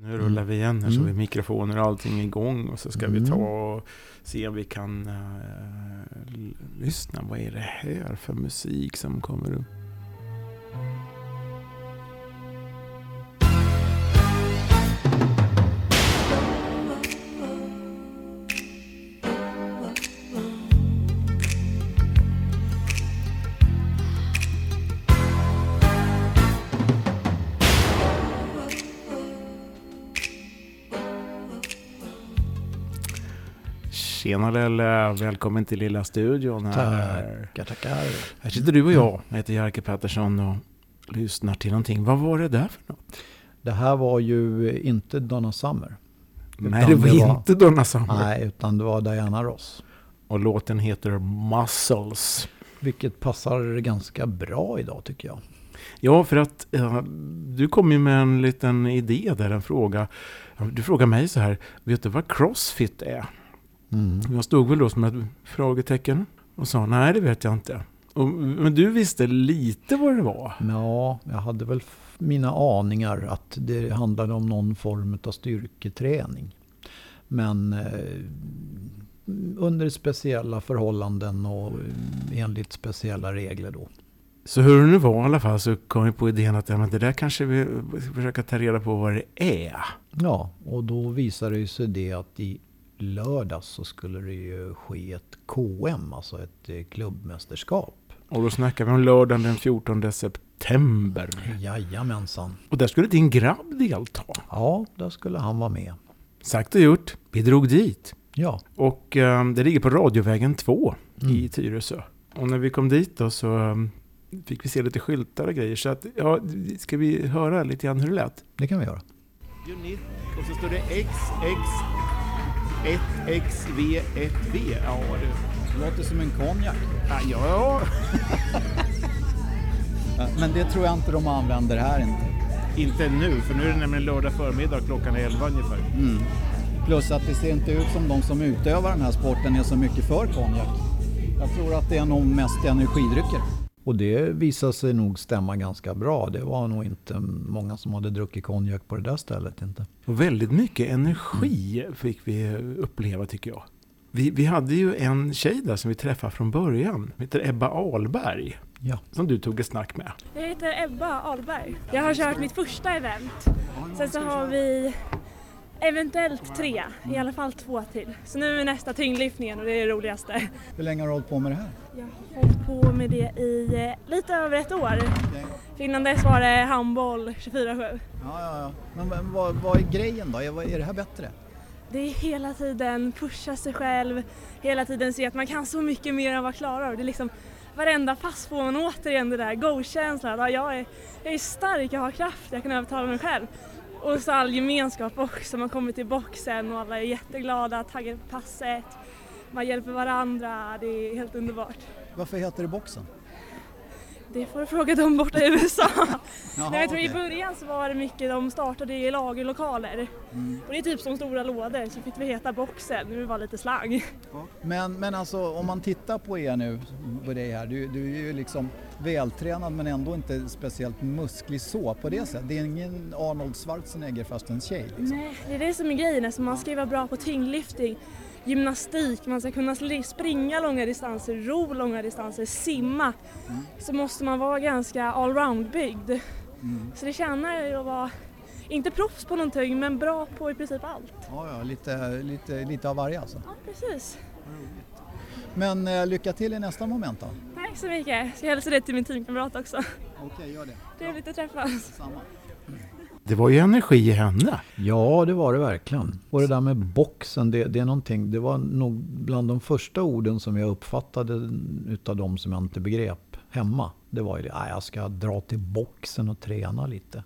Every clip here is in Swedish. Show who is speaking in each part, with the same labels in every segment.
Speaker 1: Nu rullar vi igen här så
Speaker 2: Mm.
Speaker 1: vi mikrofoner och allting igång och så ska vi
Speaker 2: Mm.
Speaker 1: ta och se om vi kan eh, l- lyssna. Vad är det här för musik som kommer upp? Tjena Lelle, välkommen till lilla studion här.
Speaker 2: Tackar, tackar.
Speaker 1: Här sitter du och jag, jag heter Jerker Pettersson och lyssnar till någonting. Vad var det där för något?
Speaker 2: Det här var ju inte Donna Summer. Utan
Speaker 1: Nej, det var
Speaker 2: det var-
Speaker 1: inte Donna Summer.
Speaker 2: Nej, utan det var Diana Ross.
Speaker 1: Och låten heter Muscles.
Speaker 2: Vilket passar ganska bra idag tycker jag.
Speaker 1: Ja, för att eh, du kom ju med en liten idé där, en fråga. Du frågar mig så här, vet du vad crossfit är?
Speaker 2: Mm.
Speaker 1: Jag stod väl då som ett frågetecken och sa nej, det vet jag inte. Och, men du visste lite vad det var.
Speaker 2: Ja, jag hade väl f- mina aningar att det handlade om någon form av styrketräning. Men eh, under speciella förhållanden och eh, enligt speciella regler då.
Speaker 1: Så hur det nu var i alla fall så kom vi på idén att ja, men det där kanske vi ska försöka ta reda på vad det är.
Speaker 2: Ja, och då visade det ju sig det att i lördags så skulle det ju ske ett KM, alltså ett eh, klubbmästerskap.
Speaker 1: Och då snackar vi om lördagen den 14 september.
Speaker 2: Jajamensan.
Speaker 1: Och där skulle din grabb delta.
Speaker 2: Ja, där skulle han vara med.
Speaker 1: Sagt och gjort, vi drog dit.
Speaker 2: Ja.
Speaker 1: Och eh, det ligger på Radiovägen 2 i
Speaker 2: Mm.
Speaker 1: Tyresö. Och när vi kom dit då så eh, fick vi se lite skyltar och grejer. Så att, ja, ska vi höra lite grann hur det lät?
Speaker 2: Det kan vi göra.
Speaker 1: Unit och så står det XX1XV1V. Ja, det...
Speaker 3: Låter som en konjak.
Speaker 1: Ja, ja,
Speaker 3: Men det tror jag inte de använder här inte.
Speaker 1: inte nu, för nu är det nämligen lördag förmiddag klockan 11 ungefär.
Speaker 3: Plus att det ser inte ut som de som utövar den här sporten är så mycket för konjak. Jag tror att det är nog mest energidrycker.
Speaker 2: Och det visade sig nog stämma ganska bra. Det var nog inte många som hade druckit konjak på det där stället inte.
Speaker 1: Och väldigt mycket energi fick vi uppleva tycker jag. Vi, vi hade ju en tjej där som vi träffade från början, hon heter Ebba Ahlberg,
Speaker 2: Ja.
Speaker 1: som du tog ett snack med.
Speaker 4: Jag heter Ebba Ahlberg. Jag har kört mitt första event. Sen så har vi eventuellt tre, i alla fall två till. Så nu är nästa tyngdlyftningen och det är det roligaste.
Speaker 3: Hur länge har du hållit på med det här?
Speaker 4: Jag har hållit på med det i eh, lite över ett år. För Innan dess var det handboll 24-7.
Speaker 3: Ja, ja, ja. Men, men vad, vad är grejen då? Är, vad- är det här bättre?
Speaker 4: Det är hela tiden pusha sig själv, hela tiden se att man kan så mycket mer än vad man klarar av. Det är liksom, varenda pass får man återigen det där go-känslan. Ja, jag, är, jag är stark, jag har kraft, jag kan övertala mig själv. Och så all gemenskap också, man kommer till boxen och alla är jätteglada, taggar på passet. Man hjälper varandra, det är helt underbart.
Speaker 3: Varför heter det boxen?
Speaker 4: Det får du fråga dem borta i USA.
Speaker 3: Jaha,
Speaker 4: Nej, jag tror i
Speaker 3: okej.
Speaker 4: början så var det mycket de startade i lagerlokaler. Och det är typ som stora lådor, så fick vi heta boxen, nu var det lite slang.
Speaker 3: Men, men alltså om man tittar på er nu, på dig här, du, du är ju liksom vältränad men ändå inte speciellt musklig så på det sättet. Det är ingen Arnold Schwarzenegger fast en tjej. Liksom.
Speaker 4: Nej, det är det som är grejen. Alltså man ska ju vara bra på tyngdlyftning, gymnastik, man ska kunna sli- springa långa distanser, ro långa distanser, simma. Så måste man vara ganska allround-byggd.
Speaker 3: Mm.
Speaker 4: Så det tjänar jag ju att vara, inte proffs på någonting, men bra på i princip allt.
Speaker 3: Ja, ja lite, lite, lite av varje alltså.
Speaker 4: Ja, precis.
Speaker 3: Men eh, lycka till i nästa moment då.
Speaker 4: Tack så mycket. Jag ska hälsa det till min teamkamrat också.
Speaker 3: Okej, gör det.
Speaker 4: Trevligt att träffas.
Speaker 3: Samma.
Speaker 1: Det var ju energi i henne.
Speaker 2: Ja, det var det verkligen. Och det där med boxen, det, det är någonting, det var nog bland de första orden som jag uppfattade utav de som jag inte begrep hemma. Det var ju det, "Ah, jag ska dra till boxen och träna lite.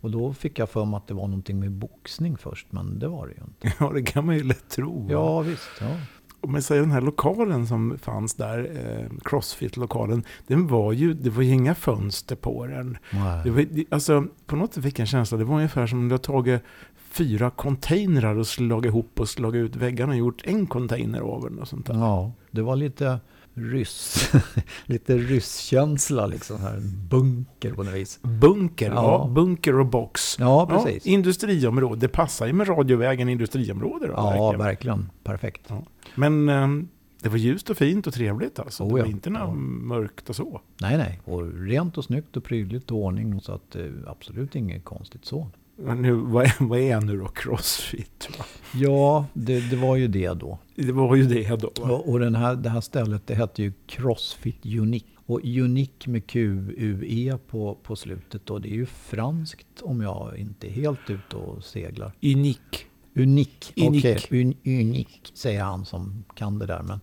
Speaker 2: Och då fick jag för mig att det var någonting med boxning först, men det var det ju inte.
Speaker 1: Ja, det kan man ju lätt tro.
Speaker 2: Ja, visst. Ja.
Speaker 1: Men så är den här lokalen som fanns där, eh, Crossfit-lokalen, den var ju, det var ju inga fönster på den. Det
Speaker 2: Nej.
Speaker 1: var, det- alltså, på något sätt fick jag en känsla, det var ungefär som om du har tagit fyra containrar och slagit ihop och slagit ut väggarna och gjort en container av den och sånt där.
Speaker 2: Ja, det var lite ryss, lite rysskänsla liksom. Här, en bunker på något vis.
Speaker 1: Bunker, ja.
Speaker 2: Ja.
Speaker 1: bunker och box.
Speaker 2: Ja,
Speaker 1: Ja,
Speaker 2: precis.
Speaker 1: industriområde, det passar ju med radiovägen industriområde. Då,
Speaker 2: Ja,
Speaker 1: verkligen.
Speaker 2: verkligen. Perfekt.
Speaker 1: Men ehm, det var ljust och fint och trevligt alltså.
Speaker 2: Oh,
Speaker 1: det var
Speaker 2: ja.
Speaker 1: inte något
Speaker 2: Ja.
Speaker 1: mörkt och så.
Speaker 2: Nej, nej. Och rent och snyggt och prydligt och ordning. Så att eh, absolut inget konstigt så.
Speaker 1: Men nu, vad, är, vad är nu då Crossfit? Va?
Speaker 2: Ja, det, det var ju det då.
Speaker 1: Det var ju det då. Va?
Speaker 2: Och, och den här, det här stället det hette ju Crossfit Unique. Och Unique med Q-U-E på, på slutet då. Det är ju franskt om jag inte är helt ute och seglar.
Speaker 1: Unik.
Speaker 2: Unik.
Speaker 1: Unik.
Speaker 2: Okej, Un, unik säger han som kan det där. Men,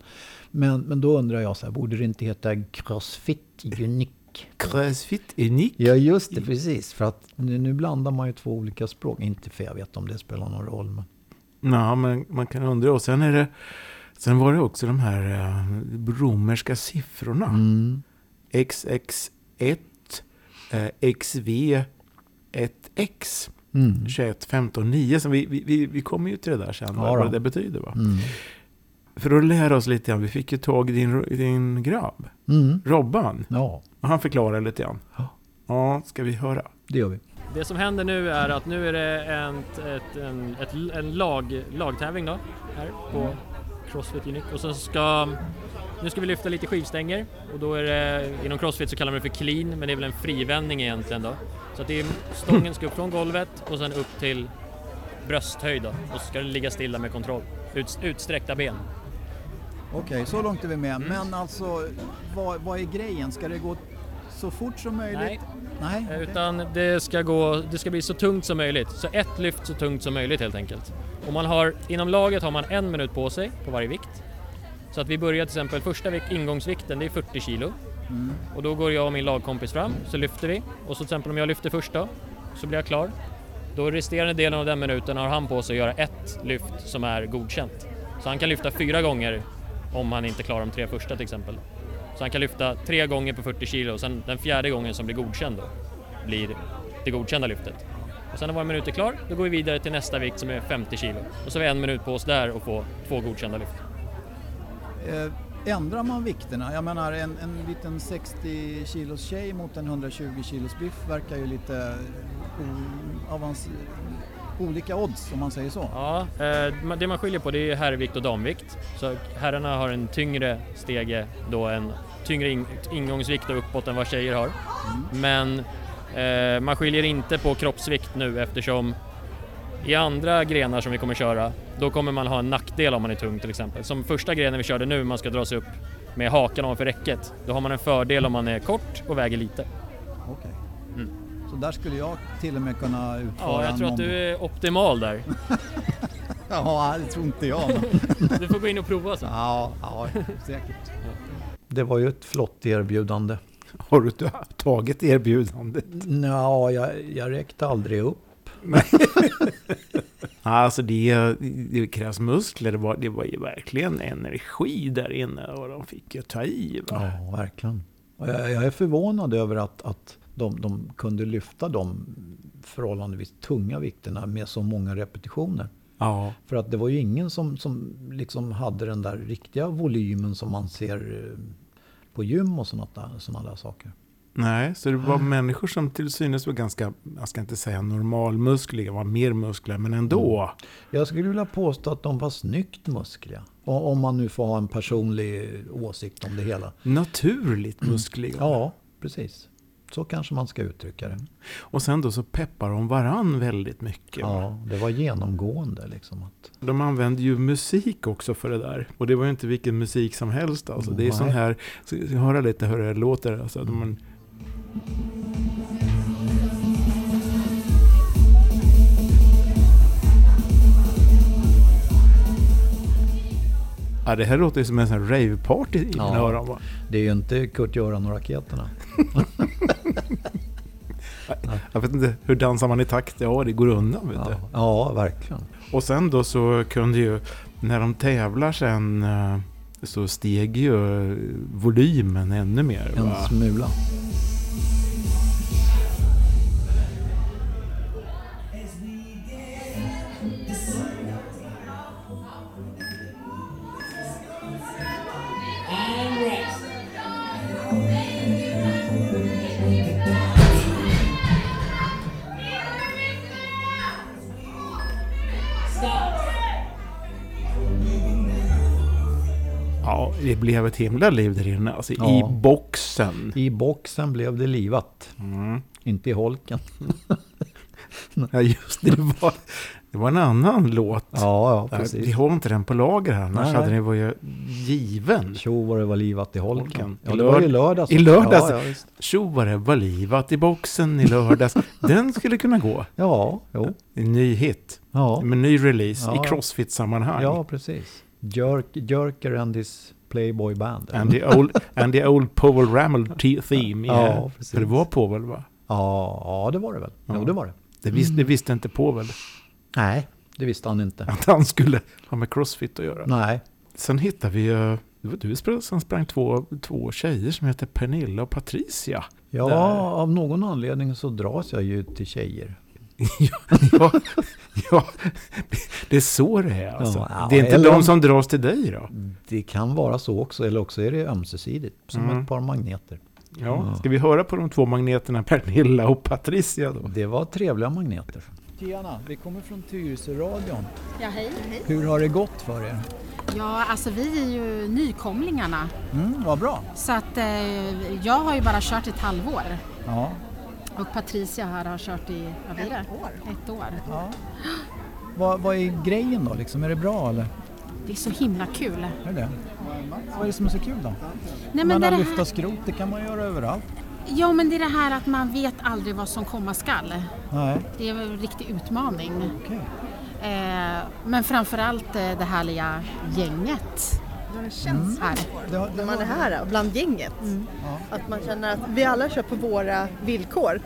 Speaker 2: men, men då undrar jag så här, borde det inte heta Crossfit Unique?
Speaker 1: Crossfit unik.
Speaker 2: Ja just det, precis. För att nu, nu blandar man ju två olika språk. Inte för jag vet om det spelar någon roll. Men
Speaker 1: Ja, men man kan undra. Och sen, är det, sen var det också de här eh, romerska siffrorna.
Speaker 2: mm,
Speaker 1: XX1, eh, XV1X.
Speaker 2: mm,
Speaker 1: 21, 15, 9. Så vi, vi- vi, vi kommer ju till det där sen,
Speaker 2: Ja
Speaker 1: vad
Speaker 2: då.
Speaker 1: det där betyder. Va?
Speaker 2: mm,
Speaker 1: För att lära oss lite grann, vi fick ju tag i din, din grabb,
Speaker 2: mm.
Speaker 1: Robban.
Speaker 2: Ja,
Speaker 1: Och han förklarade lite grann.
Speaker 2: Ja.
Speaker 1: Ja, ska vi höra?
Speaker 2: det gör vi.
Speaker 5: Det som händer nu är att nu är det en, ett, en, ett, en lag, lagtävling då, här på Crossfit Unique. Och så ska, nu ska vi lyfta lite skivstänger och då är det, inom Crossfit så kallar man det för clean, men det är väl en frivändning egentligen då. Så att det är, stången ska upp från golvet och sen upp till brösthöjd då. Och så ska den ligga stilla med kontroll. Ut, utsträckta ben.
Speaker 3: Okej, så långt är vi med. Men alltså, vad, vad är grejen? Ska det gå så fort som
Speaker 5: Nej,
Speaker 3: möjligt? Nej. okej.
Speaker 5: Eh, Utan det ska, gå, det ska bli så tungt som möjligt. Så ett lyft så tungt som möjligt helt enkelt. Och man har, inom laget har man en minut på sig på varje vikt. Så att vi börjar till exempel, första vik- ingångsvikten det är 40 kilo.
Speaker 3: Mm.
Speaker 5: Och då går jag och min lagkompis fram, så lyfter vi. Och så till exempel om jag lyfter först då, så blir jag klar. Då resterande delen av den minuten har han på sig att göra ett lyft som är godkänt. Så han kan lyfta fyra gånger om han inte klarar de tre första till exempel. Så han kan lyfta tre gånger på 40 kilo och sen den fjärde gången som blir godkänd då blir det godkända lyftet. Och sen när vår minut är klar, då går vi vidare till nästa vikt som är 50 kilo. Och så har vi en minut på oss där och få två godkända lyft.
Speaker 3: Eh, Ändrar man vikterna? Jag menar en, en liten 60 kilos tjej mot en 120 kilos biff verkar ju lite o, avans, olika odds om man säger så.
Speaker 5: Ja, eh, ma- det man skiljer på det är herrvikt och damvikt. Så herrarna har en tyngre stege då en tyngre in- ingångsvikt och uppåt än vad tjejer har.
Speaker 3: Mm.
Speaker 5: Men eh, man skiljer inte på kroppsvikt nu eftersom i andra grenar som vi kommer köra, då kommer man ha en nackdel om man är tung till exempel. Som första grenen vi körde nu, man ska dra sig upp med hakan ovanför räcket. Då har man en fördel om man är kort och väger lite.
Speaker 3: Okej. Så där skulle jag till och med kunna utföra
Speaker 5: Mm. Ja, jag tror att
Speaker 3: någon...
Speaker 5: du är optimal där.
Speaker 3: Ja, det tror inte jag. Men...
Speaker 5: Du får gå in och prova sen.
Speaker 3: ja, ja, säkert.
Speaker 2: Det var ju ett flott erbjudande.
Speaker 1: Har du tagit erbjudandet?
Speaker 2: Ja, jag, jag räckte aldrig upp.
Speaker 1: Alltså det, det krävs muskler, det var, det var ju verkligen energi där inne och de fick ju ta i. Va?
Speaker 2: Ja, verkligen. Och jag, jag är förvånad över att, att de, de kunde lyfta de förhållandevis tunga vikterna med så många repetitioner.
Speaker 1: Ja.
Speaker 2: För att det var ju ingen som, som liksom hade den där riktiga volymen som man ser eh, på gym och sådana där, såna där saker.
Speaker 1: Nej, så det var människor som till synes var ganska, jag ska inte säga normalmuskliga, var mer muskler, men ändå.
Speaker 2: Jag skulle vilja påstå att de var snyggt muskliga. O- Om man nu får ha en personlig åsikt om det hela.
Speaker 1: Naturligt muskliga.
Speaker 2: Ja, precis. Så kanske man ska uttrycka det.
Speaker 1: Och sen då så peppar de varann väldigt mycket.
Speaker 2: Ja, det var genomgående liksom. Att,
Speaker 1: De använde ju musik också för det där. Och det var ju inte vilken musik som helst alltså. Det är
Speaker 2: Nej. Mm.
Speaker 1: sån här, så, så höra lite hur det låter. Alltså, att man, Ja, det här låter ju som en sån här rave-party i
Speaker 2: Ja.
Speaker 1: mina öron. va?
Speaker 2: det är ju inte Kurt-Göran och raketerna.
Speaker 1: Jag vet inte, hur dansar man i takt? Ja, det går undan vet du.
Speaker 2: Ja, ja, verkligen.
Speaker 1: Och sen då så kunde ju, när de tävlar sen, eh, så steg ju eh, volymen ännu mer.
Speaker 2: En
Speaker 1: Va?
Speaker 2: smula.
Speaker 6: I'm Rex.
Speaker 1: Ja, det blev ett himla liv där inne. Alltså
Speaker 2: Ja.
Speaker 1: i boxen.
Speaker 2: I boxen blev det livat,
Speaker 1: Mm.
Speaker 2: inte i holken.
Speaker 1: Ja, just det. Det var, det var en annan låt.
Speaker 2: Mm. Ja, ja
Speaker 1: Där,
Speaker 2: precis.
Speaker 1: vi har inte den på lager här, annars
Speaker 2: Nej,
Speaker 1: hade
Speaker 2: nej.
Speaker 1: den varit given.
Speaker 2: Tjo vad det var livat i
Speaker 1: Holken.
Speaker 2: holken. Ja,
Speaker 1: I
Speaker 2: det var
Speaker 1: lörd-
Speaker 2: i lördags.
Speaker 1: i lördags.
Speaker 2: Ja, ja, visst.
Speaker 1: Tjo vad det var livat i boxen i lördags. Den skulle kunna gå.
Speaker 2: ja jo.
Speaker 1: En ny hit,
Speaker 2: Ja,
Speaker 1: med ny release
Speaker 2: Ja.
Speaker 1: i crossfit-sammanhang.
Speaker 2: ja precis. Jerk, Jerker and his Playboy Band. eller?
Speaker 1: And the old, and the old Powell Ramel te- theme.
Speaker 2: Ja,
Speaker 1: Yeah.
Speaker 2: precis.
Speaker 1: För det var Powell va?
Speaker 2: Ja, ja, det var det väl.
Speaker 1: Ja.
Speaker 2: Jo, det var det.
Speaker 1: Det visste,
Speaker 2: Mm.
Speaker 1: det visste inte Powell
Speaker 2: Nej, det visste han inte.
Speaker 1: att han skulle ha med crossfit att göra.
Speaker 2: Nej.
Speaker 1: Sen hittade vi, eh, det var du sprang- som sprang två, två tjejer som heter Pernilla och Patricia.
Speaker 2: Ja,
Speaker 1: Där.
Speaker 2: av någon anledning så dras jag ju till tjejer.
Speaker 1: ja, ja, det är så det är alltså.
Speaker 2: Ja, ja,
Speaker 1: det är inte
Speaker 2: eller
Speaker 1: de
Speaker 2: om-
Speaker 1: som dras till dig då?
Speaker 2: Det kan vara så också, eller också är det ömsesidigt. Som
Speaker 1: Mm.
Speaker 2: ett par magneter.
Speaker 1: Ja.
Speaker 2: Ja.
Speaker 1: Ska vi höra på de två magneterna Pernilla och Patricia då?
Speaker 2: Det var trevliga magneter.
Speaker 3: Tjena, vi kommer från Tyresöradion.
Speaker 6: Ja, hej.
Speaker 3: Hur har det gått för er?
Speaker 6: Ja, alltså vi är ju nykomlingarna.
Speaker 3: Mm, vad bra.
Speaker 6: Så att eh, jag har ju bara kört ett halvår.
Speaker 3: Ja,
Speaker 6: Och Patricia här har kört i, vad blir det? Ett år. Ett år.
Speaker 3: ja. Vad, vad är grejen då liksom? Är det bra eller?
Speaker 6: Det är så himla kul.
Speaker 3: Är det det? Vad är det som är så kul då?
Speaker 6: Nej,
Speaker 3: Man
Speaker 6: det är
Speaker 3: har
Speaker 6: det
Speaker 3: lyfta
Speaker 6: här,
Speaker 3: skrot, det kan man göra överallt.
Speaker 6: ja, men det är det här att man vet aldrig vad som komma skall.
Speaker 3: Nej,
Speaker 6: Det är en riktig utmaning.
Speaker 3: okej.
Speaker 6: Eh, men framförallt eh, det härliga gänget
Speaker 7: en känsla
Speaker 6: här.
Speaker 3: Det har- det
Speaker 7: när
Speaker 3: har-
Speaker 7: man är här bland gänget.
Speaker 6: Mm.
Speaker 7: Att man känner att vi alla kör på våra villkor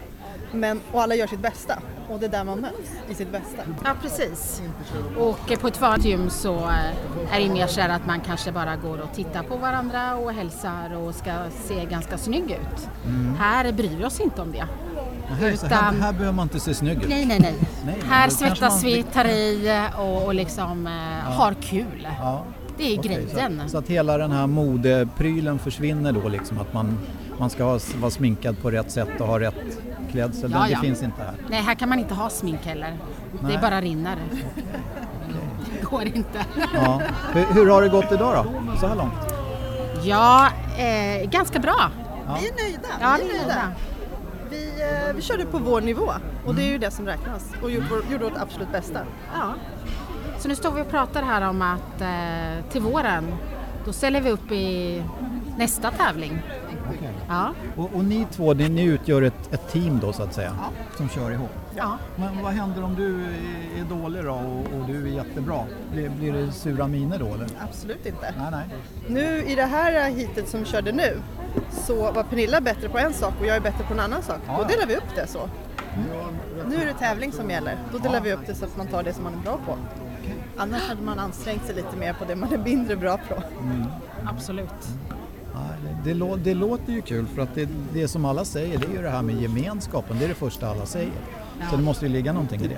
Speaker 7: men, och alla gör sitt bästa. Och det är där man möts, i sitt bästa.
Speaker 6: Ja, precis. Och eh, på ett vanligt gym så eh, är det mer så här att man kanske bara går och tittar på varandra och hälsar och ska se ganska snygg ut.
Speaker 3: Mm.
Speaker 6: Här bryr vi oss inte om det.
Speaker 3: Nej, så här,
Speaker 6: utan-
Speaker 3: här behöver man inte se snygg ut.
Speaker 6: Nej, nej, nej.
Speaker 3: Nej,
Speaker 6: här
Speaker 3: då kanske
Speaker 6: svettas
Speaker 3: man-
Speaker 6: vi, tar i och, och liksom eh, har kul.
Speaker 3: Ja,
Speaker 6: Det är
Speaker 3: okej,
Speaker 6: grejen.
Speaker 3: Så, så att hela den här modeprylen försvinner då liksom? Att man, man ska ha, vara sminkad på rätt sätt och ha rätt klädsel?
Speaker 6: Ja,
Speaker 3: det,
Speaker 6: ja.
Speaker 3: det finns inte här.
Speaker 6: Nej, här kan man inte ha smink heller.
Speaker 3: Nej.
Speaker 6: Det bara rinner. Det går inte.
Speaker 3: Ja. Hur, hur har det gått idag då, så här långt?
Speaker 6: Ja, eh, ganska bra.
Speaker 7: Vi är nöjda.
Speaker 6: Ja,
Speaker 7: vi,
Speaker 6: det är
Speaker 7: är nöjda.
Speaker 6: nöjda.
Speaker 7: Vi, eh, vi körde på vår nivå och det är
Speaker 6: Mm.
Speaker 7: ju det som räknas och gjorde, vår- gjorde vårt absolut bästa.
Speaker 6: Ja. Så nu står vi och pratar här om att eh, till våren, då ställer vi upp i nästa tävling. Ja,
Speaker 3: Och, och ni två, ni, ni utgör ett, ett team då så att säga, som kör ihop.
Speaker 6: ja.
Speaker 3: Men vad händer om du är- är dålig då och, och du är jättebra? Blir, blir det sura miner då eller?
Speaker 7: Absolut inte.
Speaker 3: Nej, nej.
Speaker 7: Nu i det här hitet som vi körde nu så var Pernilla bättre på en sak och jag är bättre på en annan sak.
Speaker 3: Ja,
Speaker 7: Då
Speaker 3: ja.
Speaker 7: delar vi upp det så. Nu är det tävling som gäller. Då delar vi upp det så att man tar det som man är bra på. Annars hade man ansträngt sig lite mer på det man är mindre bra på.
Speaker 6: absolut.
Speaker 3: nej det, det, lå, det låter ju kul för att det, det som alla säger det är ju det här med gemenskapen. Det är det första alla säger. Så det måste ju ligga någonting i det.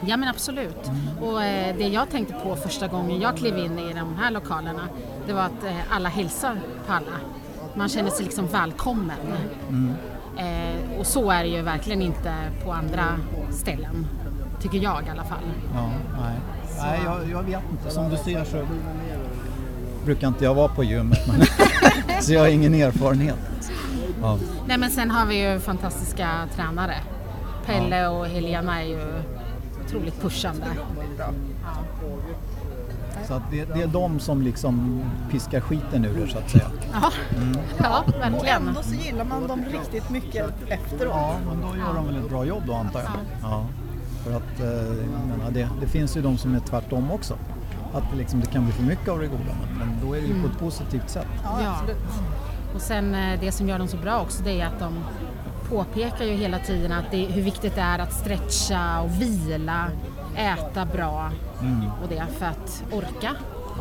Speaker 6: Ja men absolut. Och eh, det jag tänkte på första gången jag klev in i de här lokalerna, det var att eh, alla hälsar på alla. Man känner sig liksom välkommen. Eh, och så är det ju verkligen inte på andra ställen, tycker jag i alla fall.
Speaker 3: Ja, nej. nej jag, jag vet inte. Som du ser så brukar inte jag vara på gymmet. Men så jag har ingen erfarenhet. Ja.
Speaker 6: Nej men sen har vi ju fantastiska tränare. Pelle och Helena är ju otroligt pushande.
Speaker 3: Så att det, det är de som liksom piskar skiten ur er så att säga.
Speaker 6: Ja,
Speaker 7: Och
Speaker 6: verkligen.
Speaker 7: ändå så gillar man dem riktigt mycket efteråt.
Speaker 3: Ja, men då gör de väl ett bra jobb då antar jag. Ja. För att eh, jag menar, det, det finns ju de som är tvärtom också. Att det, liksom, det kan bli för mycket av det goda men, men då är det ju på ett positivt sätt.
Speaker 6: Ja. Och sen eh, det som gör dem så bra också det är att de påpekar ju hela tiden att det, hur viktigt det är att stretcha och vila, äta bra
Speaker 3: Mm.
Speaker 6: och det för att orka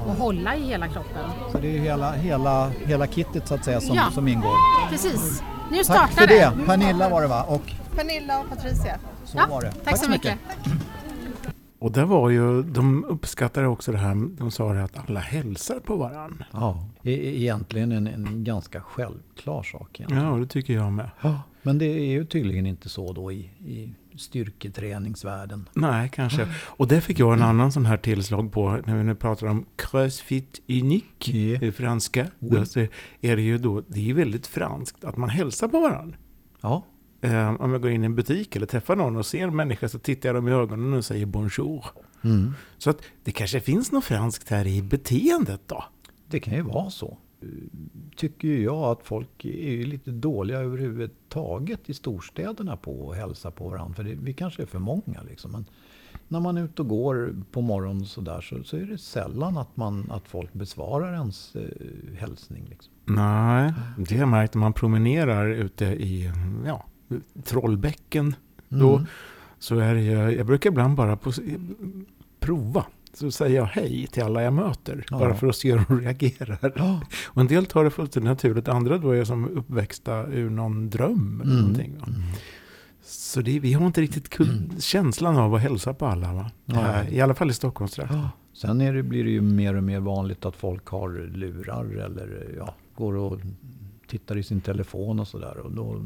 Speaker 6: och hålla i hela kroppen.
Speaker 3: Så det är ju hela, hela, hela kittet så att säga som,
Speaker 6: Ja.
Speaker 3: som ingår.
Speaker 6: Precis, nu
Speaker 3: Tack
Speaker 6: startar
Speaker 3: för det! Pernilla var det va? Och
Speaker 7: Pernilla och Patricia.
Speaker 3: så
Speaker 6: Ja,
Speaker 3: var det.
Speaker 6: tack, så mycket.
Speaker 1: Och där var ju, de uppskattade också det här, de sa det att alla hälsar på varann.
Speaker 2: Ja, e- e- egentligen en, en ganska självklar sak. egentligen.
Speaker 1: Ja, det tycker jag med.
Speaker 2: Ja, men det är ju tydligen inte så då i, i styrketräningsvärlden.
Speaker 1: Nej, kanske. Och det fick jag en annan sån här tillslag på när vi nu pratar om crossfit unique
Speaker 2: Ja.
Speaker 1: i franska.
Speaker 2: Mm.
Speaker 1: Då så är det ju då, det är ju väldigt franskt att man hälsar på varandra.
Speaker 2: Ja,
Speaker 1: Eh, om jag går in i en butik eller träffar någon och ser en människa så tittar jag dem i ögonen och säger bonjour.
Speaker 2: mm.
Speaker 1: Så att det kanske finns något franskt här i beteendet då.
Speaker 2: det kan ju vara så. Tycker ju jag att folk är ju lite dåliga överhuvudtaget i storstäderna på att hälsa på varandra. För det, vi kanske är för många liksom. Men när man är ute och går på morgonen så där så, så är det sällan att, man, att folk besvarar ens eh, hälsning. Liksom.
Speaker 1: Nej, det har jag märkt när man promenerar ute i ja, Trollbäcken. Då,
Speaker 2: Mm.
Speaker 1: så är det ju, jag brukar ibland bara på, prova. Så säger jag hej till alla jag möter,
Speaker 2: Ja.
Speaker 1: bara för att se hur de reagerar.
Speaker 2: Ja.
Speaker 1: Och en del tar det fullständigt naturligt, andra då är som uppväxta ur någon dröm. Eller
Speaker 2: Mm.
Speaker 1: någonting, va? Så det, vi har inte riktigt kul- känslan av att hälsa på alla, va?
Speaker 2: Mm. Nej.
Speaker 1: Här, I alla fall i Stockholmstrakten.
Speaker 2: Ja. Sen är det, blir det ju mer och mer vanligt att folk har lurar eller eh, ja, går och tittar i sin telefon och sådär. Och då,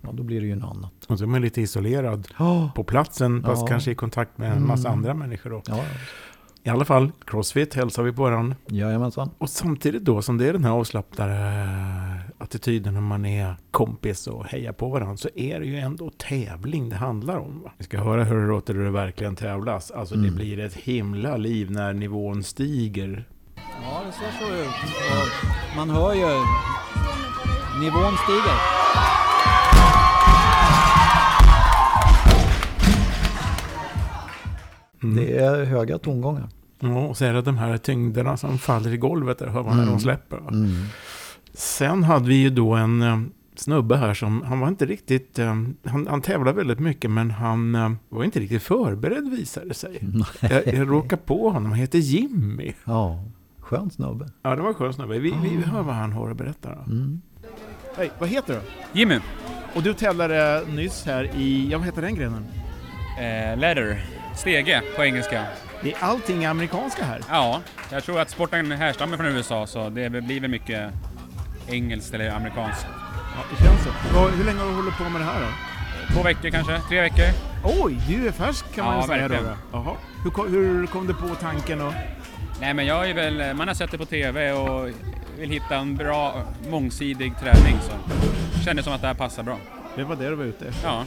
Speaker 2: ja, då blir det ju något annat.
Speaker 1: Och så är man lite isolerad
Speaker 2: Ja,
Speaker 1: på platsen, fast
Speaker 2: Ja.
Speaker 1: kanske i kontakt med en massa
Speaker 2: Mm.
Speaker 1: andra människor. Då.
Speaker 2: ja.
Speaker 1: I alla fall, crossfit hälsar vi på varandra.
Speaker 2: Jajamensan.
Speaker 1: Och samtidigt då som det är den här avslappnade eh, attityden när man är kompis och hejar på varandra så är det ju ändå tävling det handlar om. Va? Vi ska höra hur det låter när det verkligen tävlas. Alltså det
Speaker 2: Mm.
Speaker 1: blir ett himla liv när nivån stiger.
Speaker 3: Ja, det ser så ut. Och man hör ju nivån stiger.
Speaker 1: Mm.
Speaker 2: Det är höga tongångar.
Speaker 1: Ja, och så är det de här tyngderna som faller i golvet, där hör man när
Speaker 2: Mm.
Speaker 1: de släpper. Va?
Speaker 2: Mm.
Speaker 1: Sen hade vi ju då en eh, snubbe här som, han var inte riktigt, eh, han, han tävlade väldigt mycket men han eh, var inte riktigt förberedd visade det sig. Jag, jag råkade på honom, han heter Jimmy.
Speaker 2: Ja, skön snubbe.
Speaker 1: Ja, det var en skön snubbe. Vi, vi hör vad han har att berätta. då.
Speaker 2: Mm.
Speaker 1: Hej, vad heter du?
Speaker 5: Jimmy.
Speaker 1: Och du tävlade nyss här i, ja vad heter den grenen?
Speaker 5: Eh, ladder. Stege på engelska.
Speaker 1: Det är allting amerikanska här.
Speaker 5: Ja, jag tror att sporten härstammar från USA så det blir väl mycket engelskt eller amerikanskt.
Speaker 1: Ja, det känns så. Och hur länge har du hållit på med det här då?
Speaker 5: Två veckor kanske, tre veckor.
Speaker 1: Oj, du är färsk kan man
Speaker 5: Ja,
Speaker 1: ju säga då.
Speaker 5: verkligen.
Speaker 1: då. Jaha. Hur, kom- hur kom du på tanken? Och...
Speaker 5: Nej men jag är väl, man har sett det på TV och vill hitta en bra mångsidig träning så känner som att det här passar bra.
Speaker 1: Det var det du var ute efter.
Speaker 5: Ja.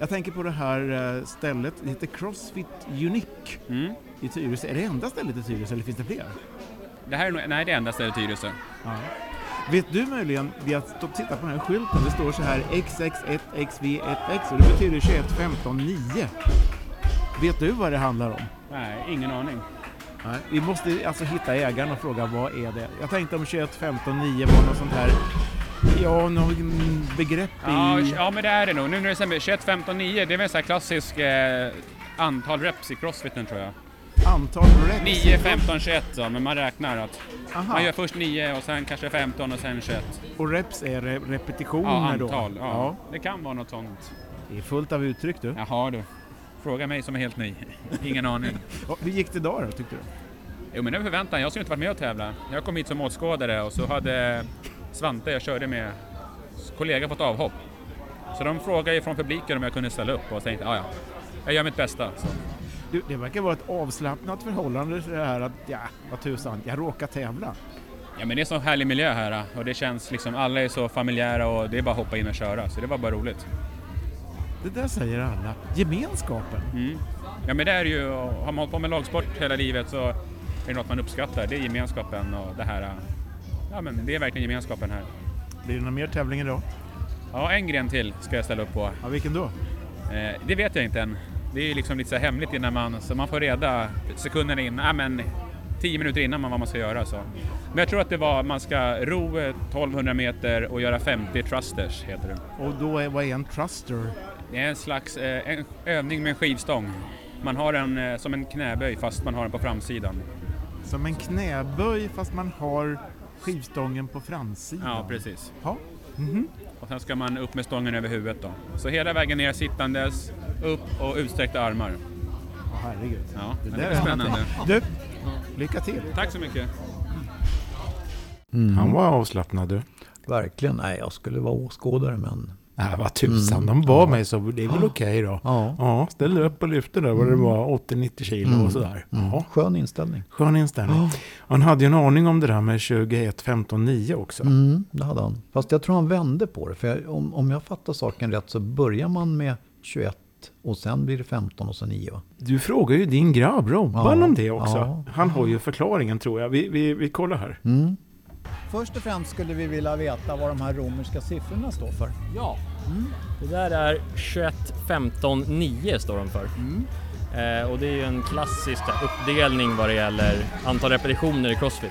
Speaker 1: Jag tänker på det här eh, stället, det heter Crossfit Unique
Speaker 5: Mm.
Speaker 1: i Tyresö. Är det enda stället i Tyresö eller finns det fler?
Speaker 5: Det här är nog, nej det är enda stället i Tyresö.
Speaker 1: Ja. Vet du möjligen, vi har stå- tittat på den här skylten, det står så här XX1XV1X och det betyder 21 15 9. Vet du vad det handlar om?
Speaker 5: Nej, ingen aning.
Speaker 1: Nej. Vi måste alltså hitta ägaren och fråga vad är det? Jag tänkte om 21 15 9 var något sånt här, ja, något mm, begrepp
Speaker 5: Ja,
Speaker 1: i...
Speaker 5: ja men det är det nog. Nu när det stämmer, 21, 15, 9 det är väl så här klassisk eh, antal reps i crossfiten tror jag.
Speaker 1: Antal reps.
Speaker 5: 9, 15, 21 så, men man räknar att Man
Speaker 1: Aha.
Speaker 5: gör först 9 och sen kanske 15 och sen 21.
Speaker 1: Och reps är re- repetitioner
Speaker 5: Ja,
Speaker 1: Mm, då?
Speaker 5: antal. Ja. Det kan vara något sånt.
Speaker 1: Det är fullt av uttryck du.
Speaker 5: Jaha du. Fråga mig som är helt ny. Ingen aning.
Speaker 1: Ja, Hur gick det idag då tyckte du?
Speaker 5: Jo men det var förväntan. Jag skulle inte varit med och tävla. Jag kom hit som åskådare och så hade Svante jag körde med kollega fått avhopp. Så de frågade ju från publiken om jag kunde ställa upp och jag tänkte "Ah, "Ja, ja, jag gör mitt bästa. Så.
Speaker 1: Du, det verkar vara ett avslappnat förhållande till det här att, ja, vad tusan, jag råkar tävla.
Speaker 5: Ja men det är så härlig miljö här och det känns liksom alla är så familjära och det är bara att hoppa in och köra så det var bara roligt.
Speaker 1: Det där säger alla. Gemenskapen.
Speaker 5: Mm. Ja men det är ju, har man hållit på med lagsport hela livet så är det något man uppskattar. Det är gemenskapen och det här. Ja men det är verkligen gemenskapen här.
Speaker 1: Blir det någon mer tävling idag?
Speaker 5: Ja, en gren till ska jag ställa upp på.
Speaker 1: Ja, vilken då?
Speaker 5: Eh, det vet jag inte än. Det är ju liksom lite så här hemligt innan man, så man får reda sekunderna innan, ja men tio minuter innan man vad man ska göra så. Men jag tror att det var, man ska ro eh, 1200 meter och göra 50 thrusters heter det.
Speaker 1: Och då är, vad är en truster?
Speaker 5: Det är en slags eh, en övning med en skivstång. Man har den eh, som en knäböj fast man har den på framsidan.
Speaker 1: Som en knäböj fast man har skivstången på framsidan.
Speaker 5: Ja, precis.
Speaker 1: Ja. Mhm.
Speaker 5: Och sen ska man upp med stången över huvudet då. Så hela vägen ner sittandes, upp och utsträckta armar.
Speaker 1: Åh, herregud.
Speaker 5: Ja, det,
Speaker 1: där
Speaker 5: är
Speaker 1: är
Speaker 5: spännande.
Speaker 1: Du, lycka till.
Speaker 5: Tack så mycket.
Speaker 2: Mm.
Speaker 1: var avslappnad du.
Speaker 2: Verkligen. Nej, jag skulle vara åskådare men
Speaker 1: Äh, vad tusan, de bad mig så det är väl okej då.
Speaker 2: Ja.
Speaker 1: Ja, Mm. ställde upp och lyfte där vad det var, 80-90 kilo och sådär. Ja,
Speaker 2: Skön inställning.
Speaker 1: skön inställning. Och han hade ju en aning om det där med 21, 15, 9 också.
Speaker 2: Mm, det hade han. Fast jag tror han vände på det. För jag, om, om jag fattar saken rätt så börjar man med 21 och sen blir det 15 och så 9. va?
Speaker 1: Du frågar ju din grabb Robban
Speaker 2: Ja.
Speaker 1: om det också.
Speaker 2: Ja. Mm.
Speaker 1: Han har ju förklaringen tror jag. Vi, vi, vi kollar här.
Speaker 3: Först och främst skulle vi vilja veta vad de här romerska siffrorna står för.
Speaker 5: Ja, det där är 21 15 9 står de för. Eh, och det är ju en klassisk uppdelning vad det gäller antal repetitioner i Crossfit.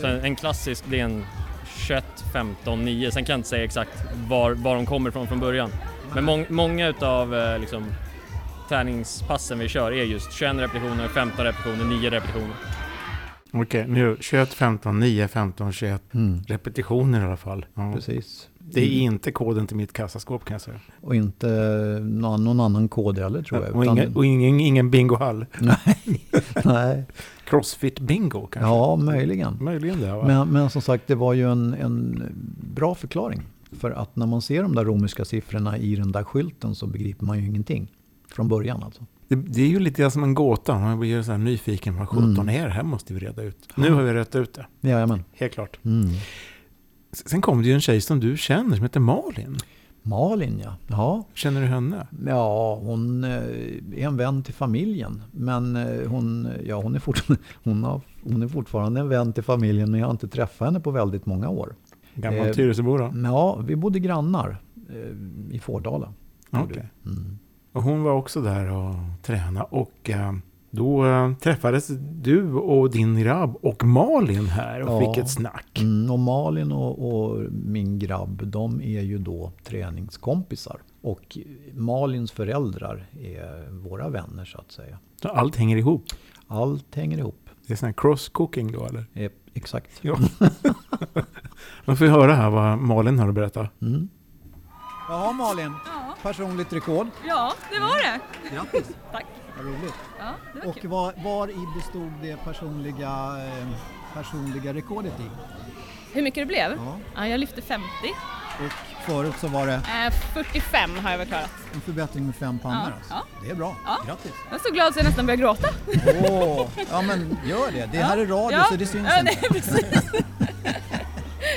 Speaker 5: Så en, en klassisk, det är en 21 15 9. Sen kan jag inte säga exakt var, var de kommer ifrån från början. Men mång, många utav eh, liksom, träningspassen vi kör är just 21 repetitioner, 15 repetitioner, 9 repetitioner.
Speaker 1: Okej, nu 21, 15, 9, 15, 21.
Speaker 2: Mm.
Speaker 1: Repetitioner i alla fall. Ja.
Speaker 2: Precis.
Speaker 1: Mm. Det är inte koden till mitt kassaskåp kan jag säga.
Speaker 2: Och inte någon, någon annan kod heller tror jag.
Speaker 1: Och,
Speaker 2: utan-
Speaker 1: ingen, och ingen, ingen bingohall.
Speaker 2: nej.
Speaker 1: Crossfit-bingo kanske?
Speaker 2: Ja, möjligen.
Speaker 1: Möjligen det. Va?
Speaker 2: Men, men som sagt, det var ju en, en bra förklaring. För att när man ser de där romerska siffrorna i den där skylten så begriper man ju ingenting. Från början alltså.
Speaker 1: Det, det är ju lite som en gåta. Man blir ju så här nyfiken. Vad 17
Speaker 2: Mm.
Speaker 1: är det här? måste vi reda ut. Nu har vi rätt ut det.
Speaker 2: Jajamän.
Speaker 1: Helt klart.
Speaker 2: Mm.
Speaker 1: S- Sen kom det ju en tjej som du känner som heter Malin.
Speaker 2: Malin ja. ja.
Speaker 1: Känner du henne?
Speaker 2: Ja, hon eh, är en vän till familjen. Men eh, hon, ja, hon, är fortfarande, hon, har, hon är fortfarande en vän till familjen men jag har inte träffat henne på väldigt många år.
Speaker 1: Gammal
Speaker 2: Eh,
Speaker 1: Tyresöbo då?
Speaker 2: Men ja, vi bodde grannar eh, i Fårdala.
Speaker 1: Okej.
Speaker 2: Mm.
Speaker 1: Och hon var också där och tränade. Och eh, då eh, träffades du och din grabb och Malin här och
Speaker 2: Ja.
Speaker 1: fick ett snack.
Speaker 2: Mm, och Malin och, och min grabb, de är ju då träningskompisar. Och Malins föräldrar är våra vänner så att säga.
Speaker 1: Så allt hänger ihop.
Speaker 2: Allt hänger ihop.
Speaker 1: Det är sån här cross-cooking då eller?
Speaker 2: Eh, Exakt.
Speaker 1: Ja. Man får ju höra här vad Malin har att berätta.
Speaker 2: Mm.
Speaker 3: Jaha Malin,
Speaker 8: Ja,
Speaker 3: personligt rekord.
Speaker 8: ja det var det.
Speaker 3: Grattis!
Speaker 8: Tack.
Speaker 3: Vad roligt.
Speaker 8: Ja, det var
Speaker 3: Och
Speaker 8: kul.
Speaker 3: var, var i bestod det personliga, eh, personliga rekordet i?
Speaker 8: Hur mycket det blev?
Speaker 3: Ja.
Speaker 8: Ja, jag lyfte 50.
Speaker 3: Och förut så var det
Speaker 8: Eh, 45 har jag väl klarat.
Speaker 3: en förbättring med fem pannor.
Speaker 8: Ja,
Speaker 3: Alltså.
Speaker 8: ja.
Speaker 3: Det är bra.
Speaker 8: Ja.
Speaker 3: Grattis!
Speaker 8: Jag är så glad så jag nästan började gråta.
Speaker 3: Åh, ja men gör det. Det här är radio
Speaker 8: Ja.
Speaker 3: så det syns
Speaker 8: ja,
Speaker 3: inte.
Speaker 8: Nej, precis.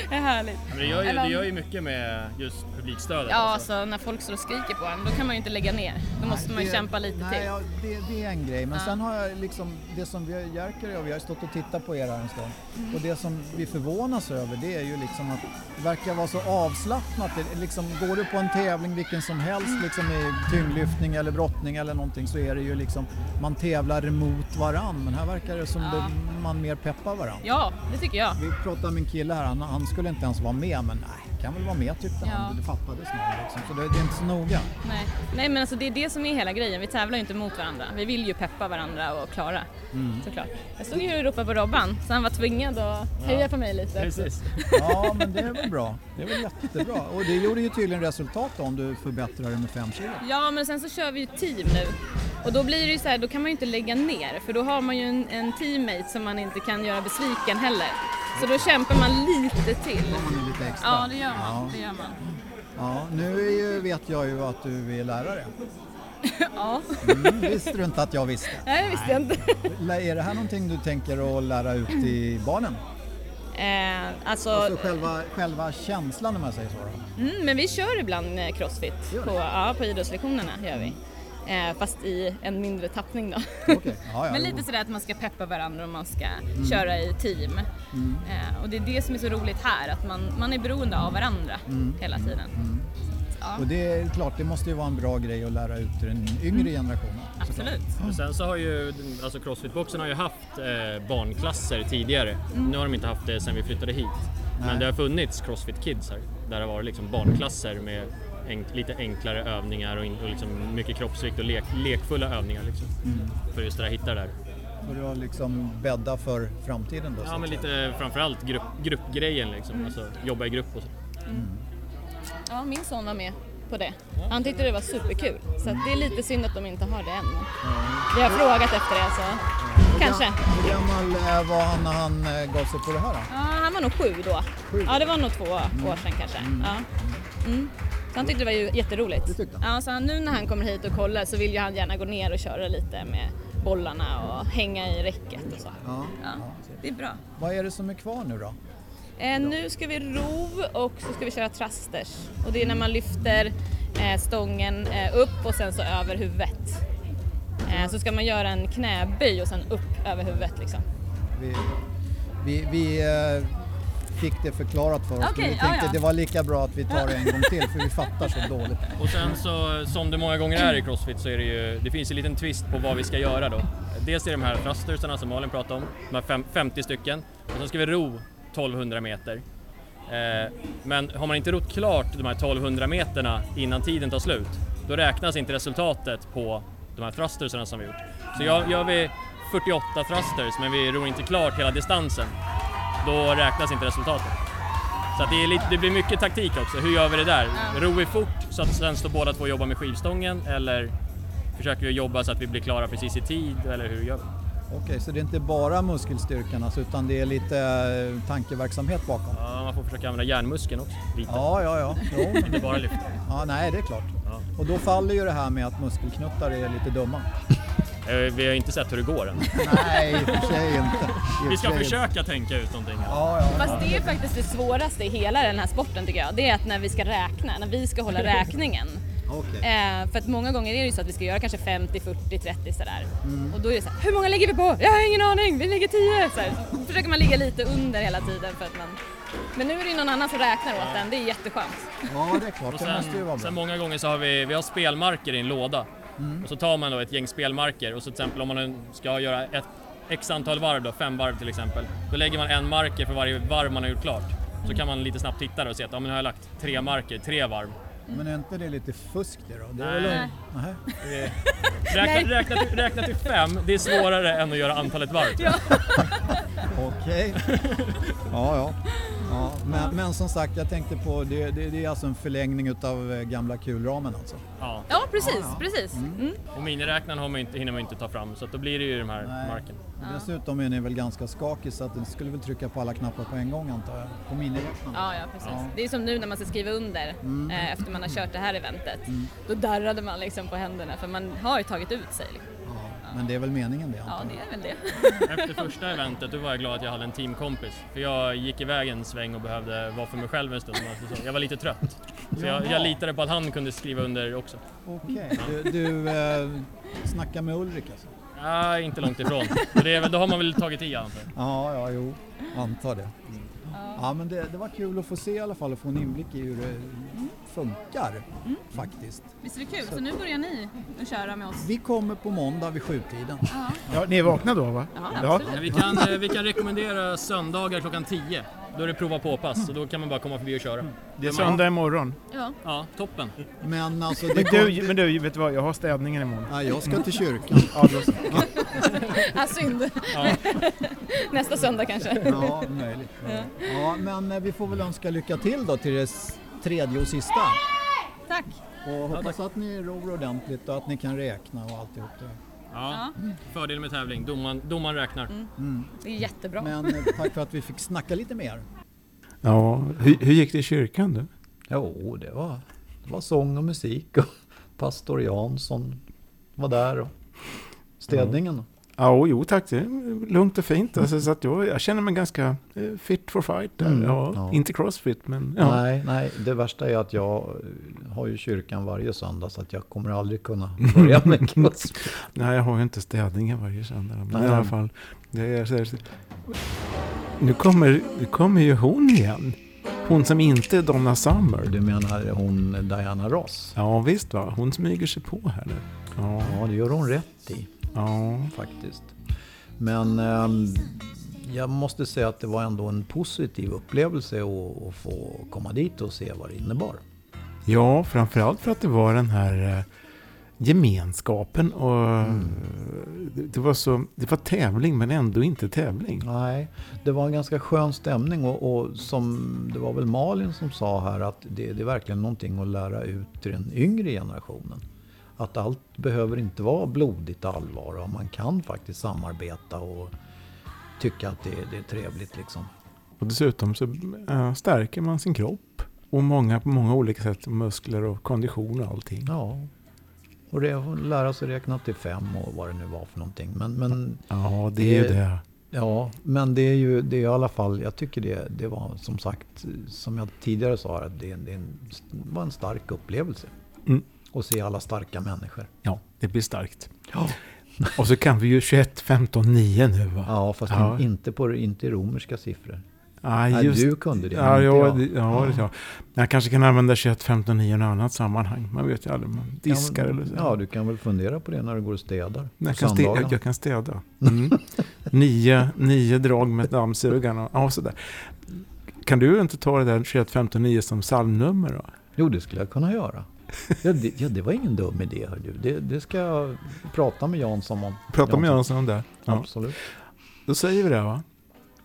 Speaker 8: det är härligt.
Speaker 5: Men det gör, ju,
Speaker 8: Eller-
Speaker 5: det gör ju mycket med just publikstödet.
Speaker 8: Ja,
Speaker 5: alltså.
Speaker 8: alltså när folk står och skriker på en, då kan man ju inte lägga ner. Då måste man ju
Speaker 3: Det-
Speaker 8: kämpa lite
Speaker 3: nej,
Speaker 8: till.
Speaker 3: Ja, det, det är en grej, men
Speaker 8: Ja.
Speaker 3: sen har jag liksom det som vi har, Jerker och jag, vi har stått och tittat på er här en stund och det som vi förvånas över det är ju liksom att det verkar vara så avslappnat. Det, liksom, går du på en tävling vilken som helst liksom i tyngdlyftning eller brottning eller någonting så är det ju liksom man tävlar mot varann men här verkar det som
Speaker 8: Ja.
Speaker 3: det, man mer peppar varann.
Speaker 8: Ja, det tycker jag.
Speaker 3: Vi pratade med en kille här, han, han skulle inte ens vara med men nej, kan väl vara med tyckte
Speaker 8: Ja.
Speaker 3: han. Det fattades nog liksom. Så det, det är inte så noga.
Speaker 8: Nej. nej, men alltså det är det som är hela grejen. Vi tävlar ju inte mot varandra. Vi vill ju peppa varandra och klara, såklart. Jag stod ju och ropade på Robban, så han var tvingad att heja på mig lite.
Speaker 5: Precis.
Speaker 3: Ja, men det är väl bra. Det är väl jättebra. Och det gjorde ju tydligen resultat då, om du förbättrar det med 5 kilo.
Speaker 8: Ja, men sen så kör vi ju team nu. Och då blir det ju så här, då kan man ju inte lägga ner för då har man ju en, en teammate som man inte kan göra besviken heller. Så då kämpar man lite till.
Speaker 3: Om man är lite extra.
Speaker 8: Ja, det gör man. Det gör man.
Speaker 3: Ja, nu är ju, vet jag ju att du är lärare.
Speaker 8: Ja,
Speaker 3: Mm, visste du inte att jag visste?
Speaker 8: nej, det visste jag inte.
Speaker 3: Lä- Är det här någonting du tänker att lära ut till barnen?
Speaker 8: Eh,
Speaker 3: Alltså
Speaker 8: alltså,
Speaker 3: själva, själva känslan om man säger så? Då.
Speaker 8: mm, men vi kör ibland eh, crossfit
Speaker 3: Gör ni?
Speaker 8: på, ja, på idrottslektionerna. Gör vi. Eh, fast i en mindre tappning då.
Speaker 3: Okej. Ja, Mm. ja,
Speaker 8: Men
Speaker 3: jo.
Speaker 8: lite sådär att man ska peppa varandra och man ska köra i team.
Speaker 3: Mm.
Speaker 8: Eh, och det är det som är så roligt här, att man, man är beroende av varandra
Speaker 3: Mm.
Speaker 8: hela tiden. Så att,
Speaker 3: Och det är klart, det måste ju vara en bra grej att lära ut till den yngre generationen.
Speaker 8: ja, Mm. absolut.
Speaker 5: Och sen så har ju alltså Crossfitboxen har ju haft eh, barnklasser tidigare. Nu har de inte haft det sen vi flyttade hit. Men det har funnits Crossfit Kids här. Där det har varit liksom barnklasser med enk- lite enklare övningar och, in- och liksom mycket kroppsvikt och lek, lekfulla övningar. Liksom. För just det där hitta det där.
Speaker 3: För att liksom bädda för framtiden då. så
Speaker 5: Ja
Speaker 3: att
Speaker 5: men
Speaker 3: säga.
Speaker 5: lite framförallt grupp, gruppgrejen liksom. Alltså jobba i grupp och så.
Speaker 8: Ja, min son var med på det. Han tyckte det var superkul. Så att det är lite synd att de inte har det än. Vi har frågat efter det så kanske.
Speaker 3: Hur gammal eh, var han när han eh, gav sig på det här? Då?
Speaker 8: Ja, han var nog sju då. Ja, det var nog två år sedan kanske. Ja. Mm. Så han tyckte det var ju jätteroligt.
Speaker 3: Mm. Det tyckte
Speaker 8: Ja, så han, nu när han kommer hit och kollar så vill ju han gärna gå ner och köra lite med bollarna och hänga i räcket och så.
Speaker 3: Ja.
Speaker 8: Ja, det är bra.
Speaker 3: Vad är det som är kvar nu då?
Speaker 8: Eh, nu ska vi ro och så ska vi köra trasters. Och det är när man lyfter eh, stången eh, upp och sen så över huvudet. Eh, så ska man göra en knäböj och sen upp över huvudet liksom.
Speaker 3: Vi, vi, vi eh, fick det förklarat för oss. men
Speaker 8: Okej,
Speaker 3: vi
Speaker 8: ja,
Speaker 3: tänkte
Speaker 8: ja.
Speaker 3: det var lika bra att vi tar det en gång till för vi fattar så dåligt.
Speaker 5: Och sen så, som det många gånger är i Crossfit så är det ju, det finns en liten twist på vad vi ska göra då. Dels är det de här thrustersarna som Malin pratade om, de här fem, 50 stycken. Och sen ska vi ro 1200 meter. Eh, men har man inte rott klart de här 1200 meterna innan tiden tar slut, då räknas inte resultatet på de här thrustersarna som vi gjort. Så gör, gör vi 48 thrusters men vi ror inte klart hela distansen, då räknas inte resultatet. Så att det, är lite, det blir mycket taktik också. Hur gör vi det där? Ro vi fort så att sen står båda två och jobbar med skivstången eller försöker vi jobba så att vi blir klara precis i tid eller hur gör vi?
Speaker 3: Okej, så det är inte bara muskelstyrkan alltså, utan det är lite eh, tankeverksamhet bakom?
Speaker 5: Ja, man får försöka använda hjärnmuskeln också lite.
Speaker 3: Ja, ja, ja. Jo, men-
Speaker 5: Inte bara lyfta.
Speaker 3: ja nej, det är klart.
Speaker 5: Ja.
Speaker 3: Och då faller ju det här med att muskelknuttar är lite dumma.
Speaker 5: Eh, Vi har inte sett hur det går än.
Speaker 3: Nej, i och för sig inte. I och
Speaker 5: Vi ska
Speaker 3: för sig inte.
Speaker 5: försöka tänka ut någonting. här.
Speaker 3: Ja, ja.
Speaker 8: Fast det är faktiskt det svåraste i hela den här sporten tycker jag. Det är att när vi ska räkna, när vi ska hålla räkningen.
Speaker 3: Okej.
Speaker 8: Eh, för att många gånger är det ju så att vi ska göra kanske 50, 40, 30 sådär. Och då är det så här, hur många lägger vi på? Jag har ingen aning, vi lägger 10! Så, här. så försöker man ligga lite under hela tiden för att man... Men nu är det ju någon annan som räknar åt en, det är jätteskönt.
Speaker 3: Ja, det är klart.
Speaker 5: Och
Speaker 3: Det
Speaker 5: sen,
Speaker 3: måste ju vara
Speaker 5: sen
Speaker 3: bra. Mm.
Speaker 5: många gånger så har vi, vi har spelmarker i en låda. Och så tar man då ett gäng spelmarker och så till exempel om man ska göra ett x antal varv då, fem varv till exempel. Då lägger man en marker för varje varv man har gjort klart. Så
Speaker 3: Mm.
Speaker 5: kan man lite snabbt titta då och se att ja, men nu har jag lagt tre marker, tre varv.
Speaker 3: Men är inte det lite fusk det då? Det är väl
Speaker 5: Nej.
Speaker 3: Nej.
Speaker 5: Räkna, räkna, till, räkna till fem, det är svårare än att göra antalet varv.
Speaker 3: Okej. Ja, ja. ja men, men som sagt, jag tänkte på, det, det, det är alltså en förlängning utav eh, gamla kulramen alltså.
Speaker 5: Ja.
Speaker 8: Ja, precis, precis. Mm.
Speaker 5: Och miniräknaren har man ju inte, hinner man ju inte ta fram så att då blir det ju de här
Speaker 3: Nej.
Speaker 5: marken.
Speaker 3: Och Dessutom är ni väl ganska skakig så att ni skulle väl trycka på alla knappar på en gång antar jag? På miniräknaren?
Speaker 8: Ja, ja, precis.
Speaker 3: Ja.
Speaker 8: Det är som nu när man ska skriva under eh, efter man har kört det här eventet. Då darrade man liksom på händerna för man har ju tagit ut sig. Liksom.
Speaker 3: Ja, Men det är väl meningen det
Speaker 8: Ja,
Speaker 3: antar
Speaker 8: det är väl det.
Speaker 5: Efter första eventet då var jag glad att jag hade en teamkompis. För jag gick iväg en sväng och behövde vara för mig själv en stund. Alltså, så Jag var lite trött. Så jag, jag litade på att han kunde skriva under också.
Speaker 3: jag. Okej, du, du eh, snackar med Ulrik alltså?
Speaker 5: Ah, inte långt ifrån. Så det är väl, då har man väl tagit i antar jag.
Speaker 3: Ja, ja, jo, antar det. Ja, men det, det var kul att få se i alla fall och få en inblick i hur det funkar faktiskt.
Speaker 8: Visst är det kul? Så nu börjar ni att köra med oss.
Speaker 3: Vi kommer på måndag vid sjutiden.
Speaker 1: Ja, ni är vakna då va?
Speaker 8: Ja,
Speaker 5: Men Vi kan, eh, vi kan rekommendera söndagar klockan 10. Då är det prova på-pass och då kan man bara komma förbi och köra.
Speaker 1: Det är söndag imorgon.
Speaker 8: Ja.
Speaker 5: Ja, toppen.
Speaker 3: Men alltså, det
Speaker 1: Men
Speaker 3: kom...
Speaker 1: du, men du, vet du vad? Jag har städningen imorgon.
Speaker 3: ja, jag ska till kyrkan.
Speaker 1: Ja, då så.
Speaker 8: Ah, synd.
Speaker 5: Ja.
Speaker 8: Nästa söndag kanske.
Speaker 3: Ja, möjligt. Ja, men eh, vi får väl önska lycka till då till det s- tredje och sista.
Speaker 8: Tack.
Speaker 3: Och hoppas att ni ror ordentligt och att ni kan räkna och alltihop det.
Speaker 5: Ja. Fördel med tävling, domaren, domaren räknar.
Speaker 8: Det är jättebra.
Speaker 3: Mm. Men eh, tack för att vi fick snacka lite mer.
Speaker 1: Ja, hur, hur gick det i kyrkan då?
Speaker 2: Jo, det var, det var sång och musik och pastor Jansson var där och städningen.
Speaker 1: Ja, jo tack. Det är lugnt och fint. Alltså, så att jag, jag känner mig ganska eh, fit for fight där.
Speaker 2: Mm,
Speaker 1: ja,
Speaker 2: ja.
Speaker 1: Inte crossfit, men ja.
Speaker 2: Nej, nej, det värsta är att jag eh, har ju kyrkan varje söndag så att jag kommer aldrig kunna börja med cross.
Speaker 1: Nej, jag har ju inte städningen varje söndag. Men
Speaker 2: Nej.
Speaker 1: i alla fall. Det är, så här- nu, kommer, nu kommer ju hon igen. Hon som inte är Donna Summer.
Speaker 2: Du menar hon Diana Ross?
Speaker 1: Ja, visst va. Hon smyger sig på här nu. Ja,
Speaker 2: Ja, det gör hon rätt i.
Speaker 1: ja.
Speaker 2: faktiskt. Men ehm, jag måste säga att det var ändå en positiv upplevelse att, att få komma dit och se vad det innebar.
Speaker 1: ja framförallt för att det var den här eh, gemenskapen och
Speaker 2: Mm.
Speaker 1: eh, det, det var så, det var tävling men ändå inte tävling.
Speaker 2: Nej, det var en ganska skön stämning och, och som det var väl Malin som sa här att det, det är verkligen någonting att lära ut till den yngre generationen. Att allt behöver inte vara blodigt allvar och man kan faktiskt samarbeta och tycka att det, det är trevligt liksom.
Speaker 1: Och dessutom så eh, stärker man sin kropp. Och många på många olika sätt, muskler och kondition och allting.
Speaker 2: Ja. Och det, och lära sig räkna till fem och vad det nu var för någonting. Men, men
Speaker 1: Ja, det är ju
Speaker 2: Det-
Speaker 1: det.
Speaker 2: Ja, men det är ju det är i alla fall, jag tycker det, det var som sagt, som jag tidigare sa, att det, det är en, var en stark upplevelse.
Speaker 1: Mm.
Speaker 2: Att se alla starka människor.
Speaker 1: Ja, det blir starkt.
Speaker 2: Ja,
Speaker 1: Och så kan vi ju 21, 15, 9 nu va?
Speaker 2: ja fast
Speaker 1: Ja.
Speaker 2: inte, på, inte i romerska siffror.
Speaker 1: Ah,
Speaker 2: Nej,
Speaker 1: just-
Speaker 2: du kunde det,
Speaker 1: Ja,
Speaker 2: inte
Speaker 1: ja,
Speaker 2: jag.
Speaker 1: det- ja, ja. Jag kanske kan använda 21, 15, 9 i något annat sammanhang. Man vet ju aldrig. Man diskar
Speaker 2: ja, men-
Speaker 1: eller så.
Speaker 2: Ja, du kan väl fundera på det när du går och städar. på
Speaker 1: jag, kan stä-
Speaker 2: söndagarna.
Speaker 1: jag, jag kan städa. Mm. nio, nio drag med dammsugaren. och- Ja, sådär. Kan du inte ta det där 21, 15, 9 som psalmnummer då?
Speaker 2: Jo, det skulle jag kunna göra. Ja, det, ja, det var ingen dum idé, hör du. Det, det ska jag prata med Jansson om.
Speaker 1: Prata med Jönsson om det. Ja.
Speaker 2: Absolut.
Speaker 1: Då säger vi det va?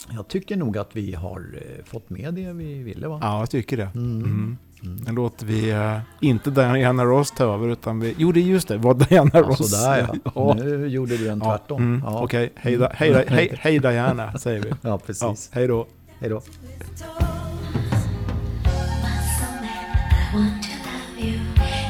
Speaker 2: Jag tycker nog att vi har eh, fått med det vi ville, va?
Speaker 1: Ja, jag tycker det. Mm. Nu låter vi eh, inte Diana Ross ta över, utan vi... Jo, det är just det, vad Diana
Speaker 2: Ja,
Speaker 1: Ross...
Speaker 2: sådär Alltså ja. Nu gjorde du en
Speaker 1: Ja,
Speaker 2: tvärtom.
Speaker 1: mm.
Speaker 2: Ja.
Speaker 1: Okej, hej, da, hej, da, hej, hej Diana, säger vi.
Speaker 2: Ja,
Speaker 1: Ja,
Speaker 2: precis.
Speaker 1: hej då.
Speaker 2: Hej då.
Speaker 9: I want to love you.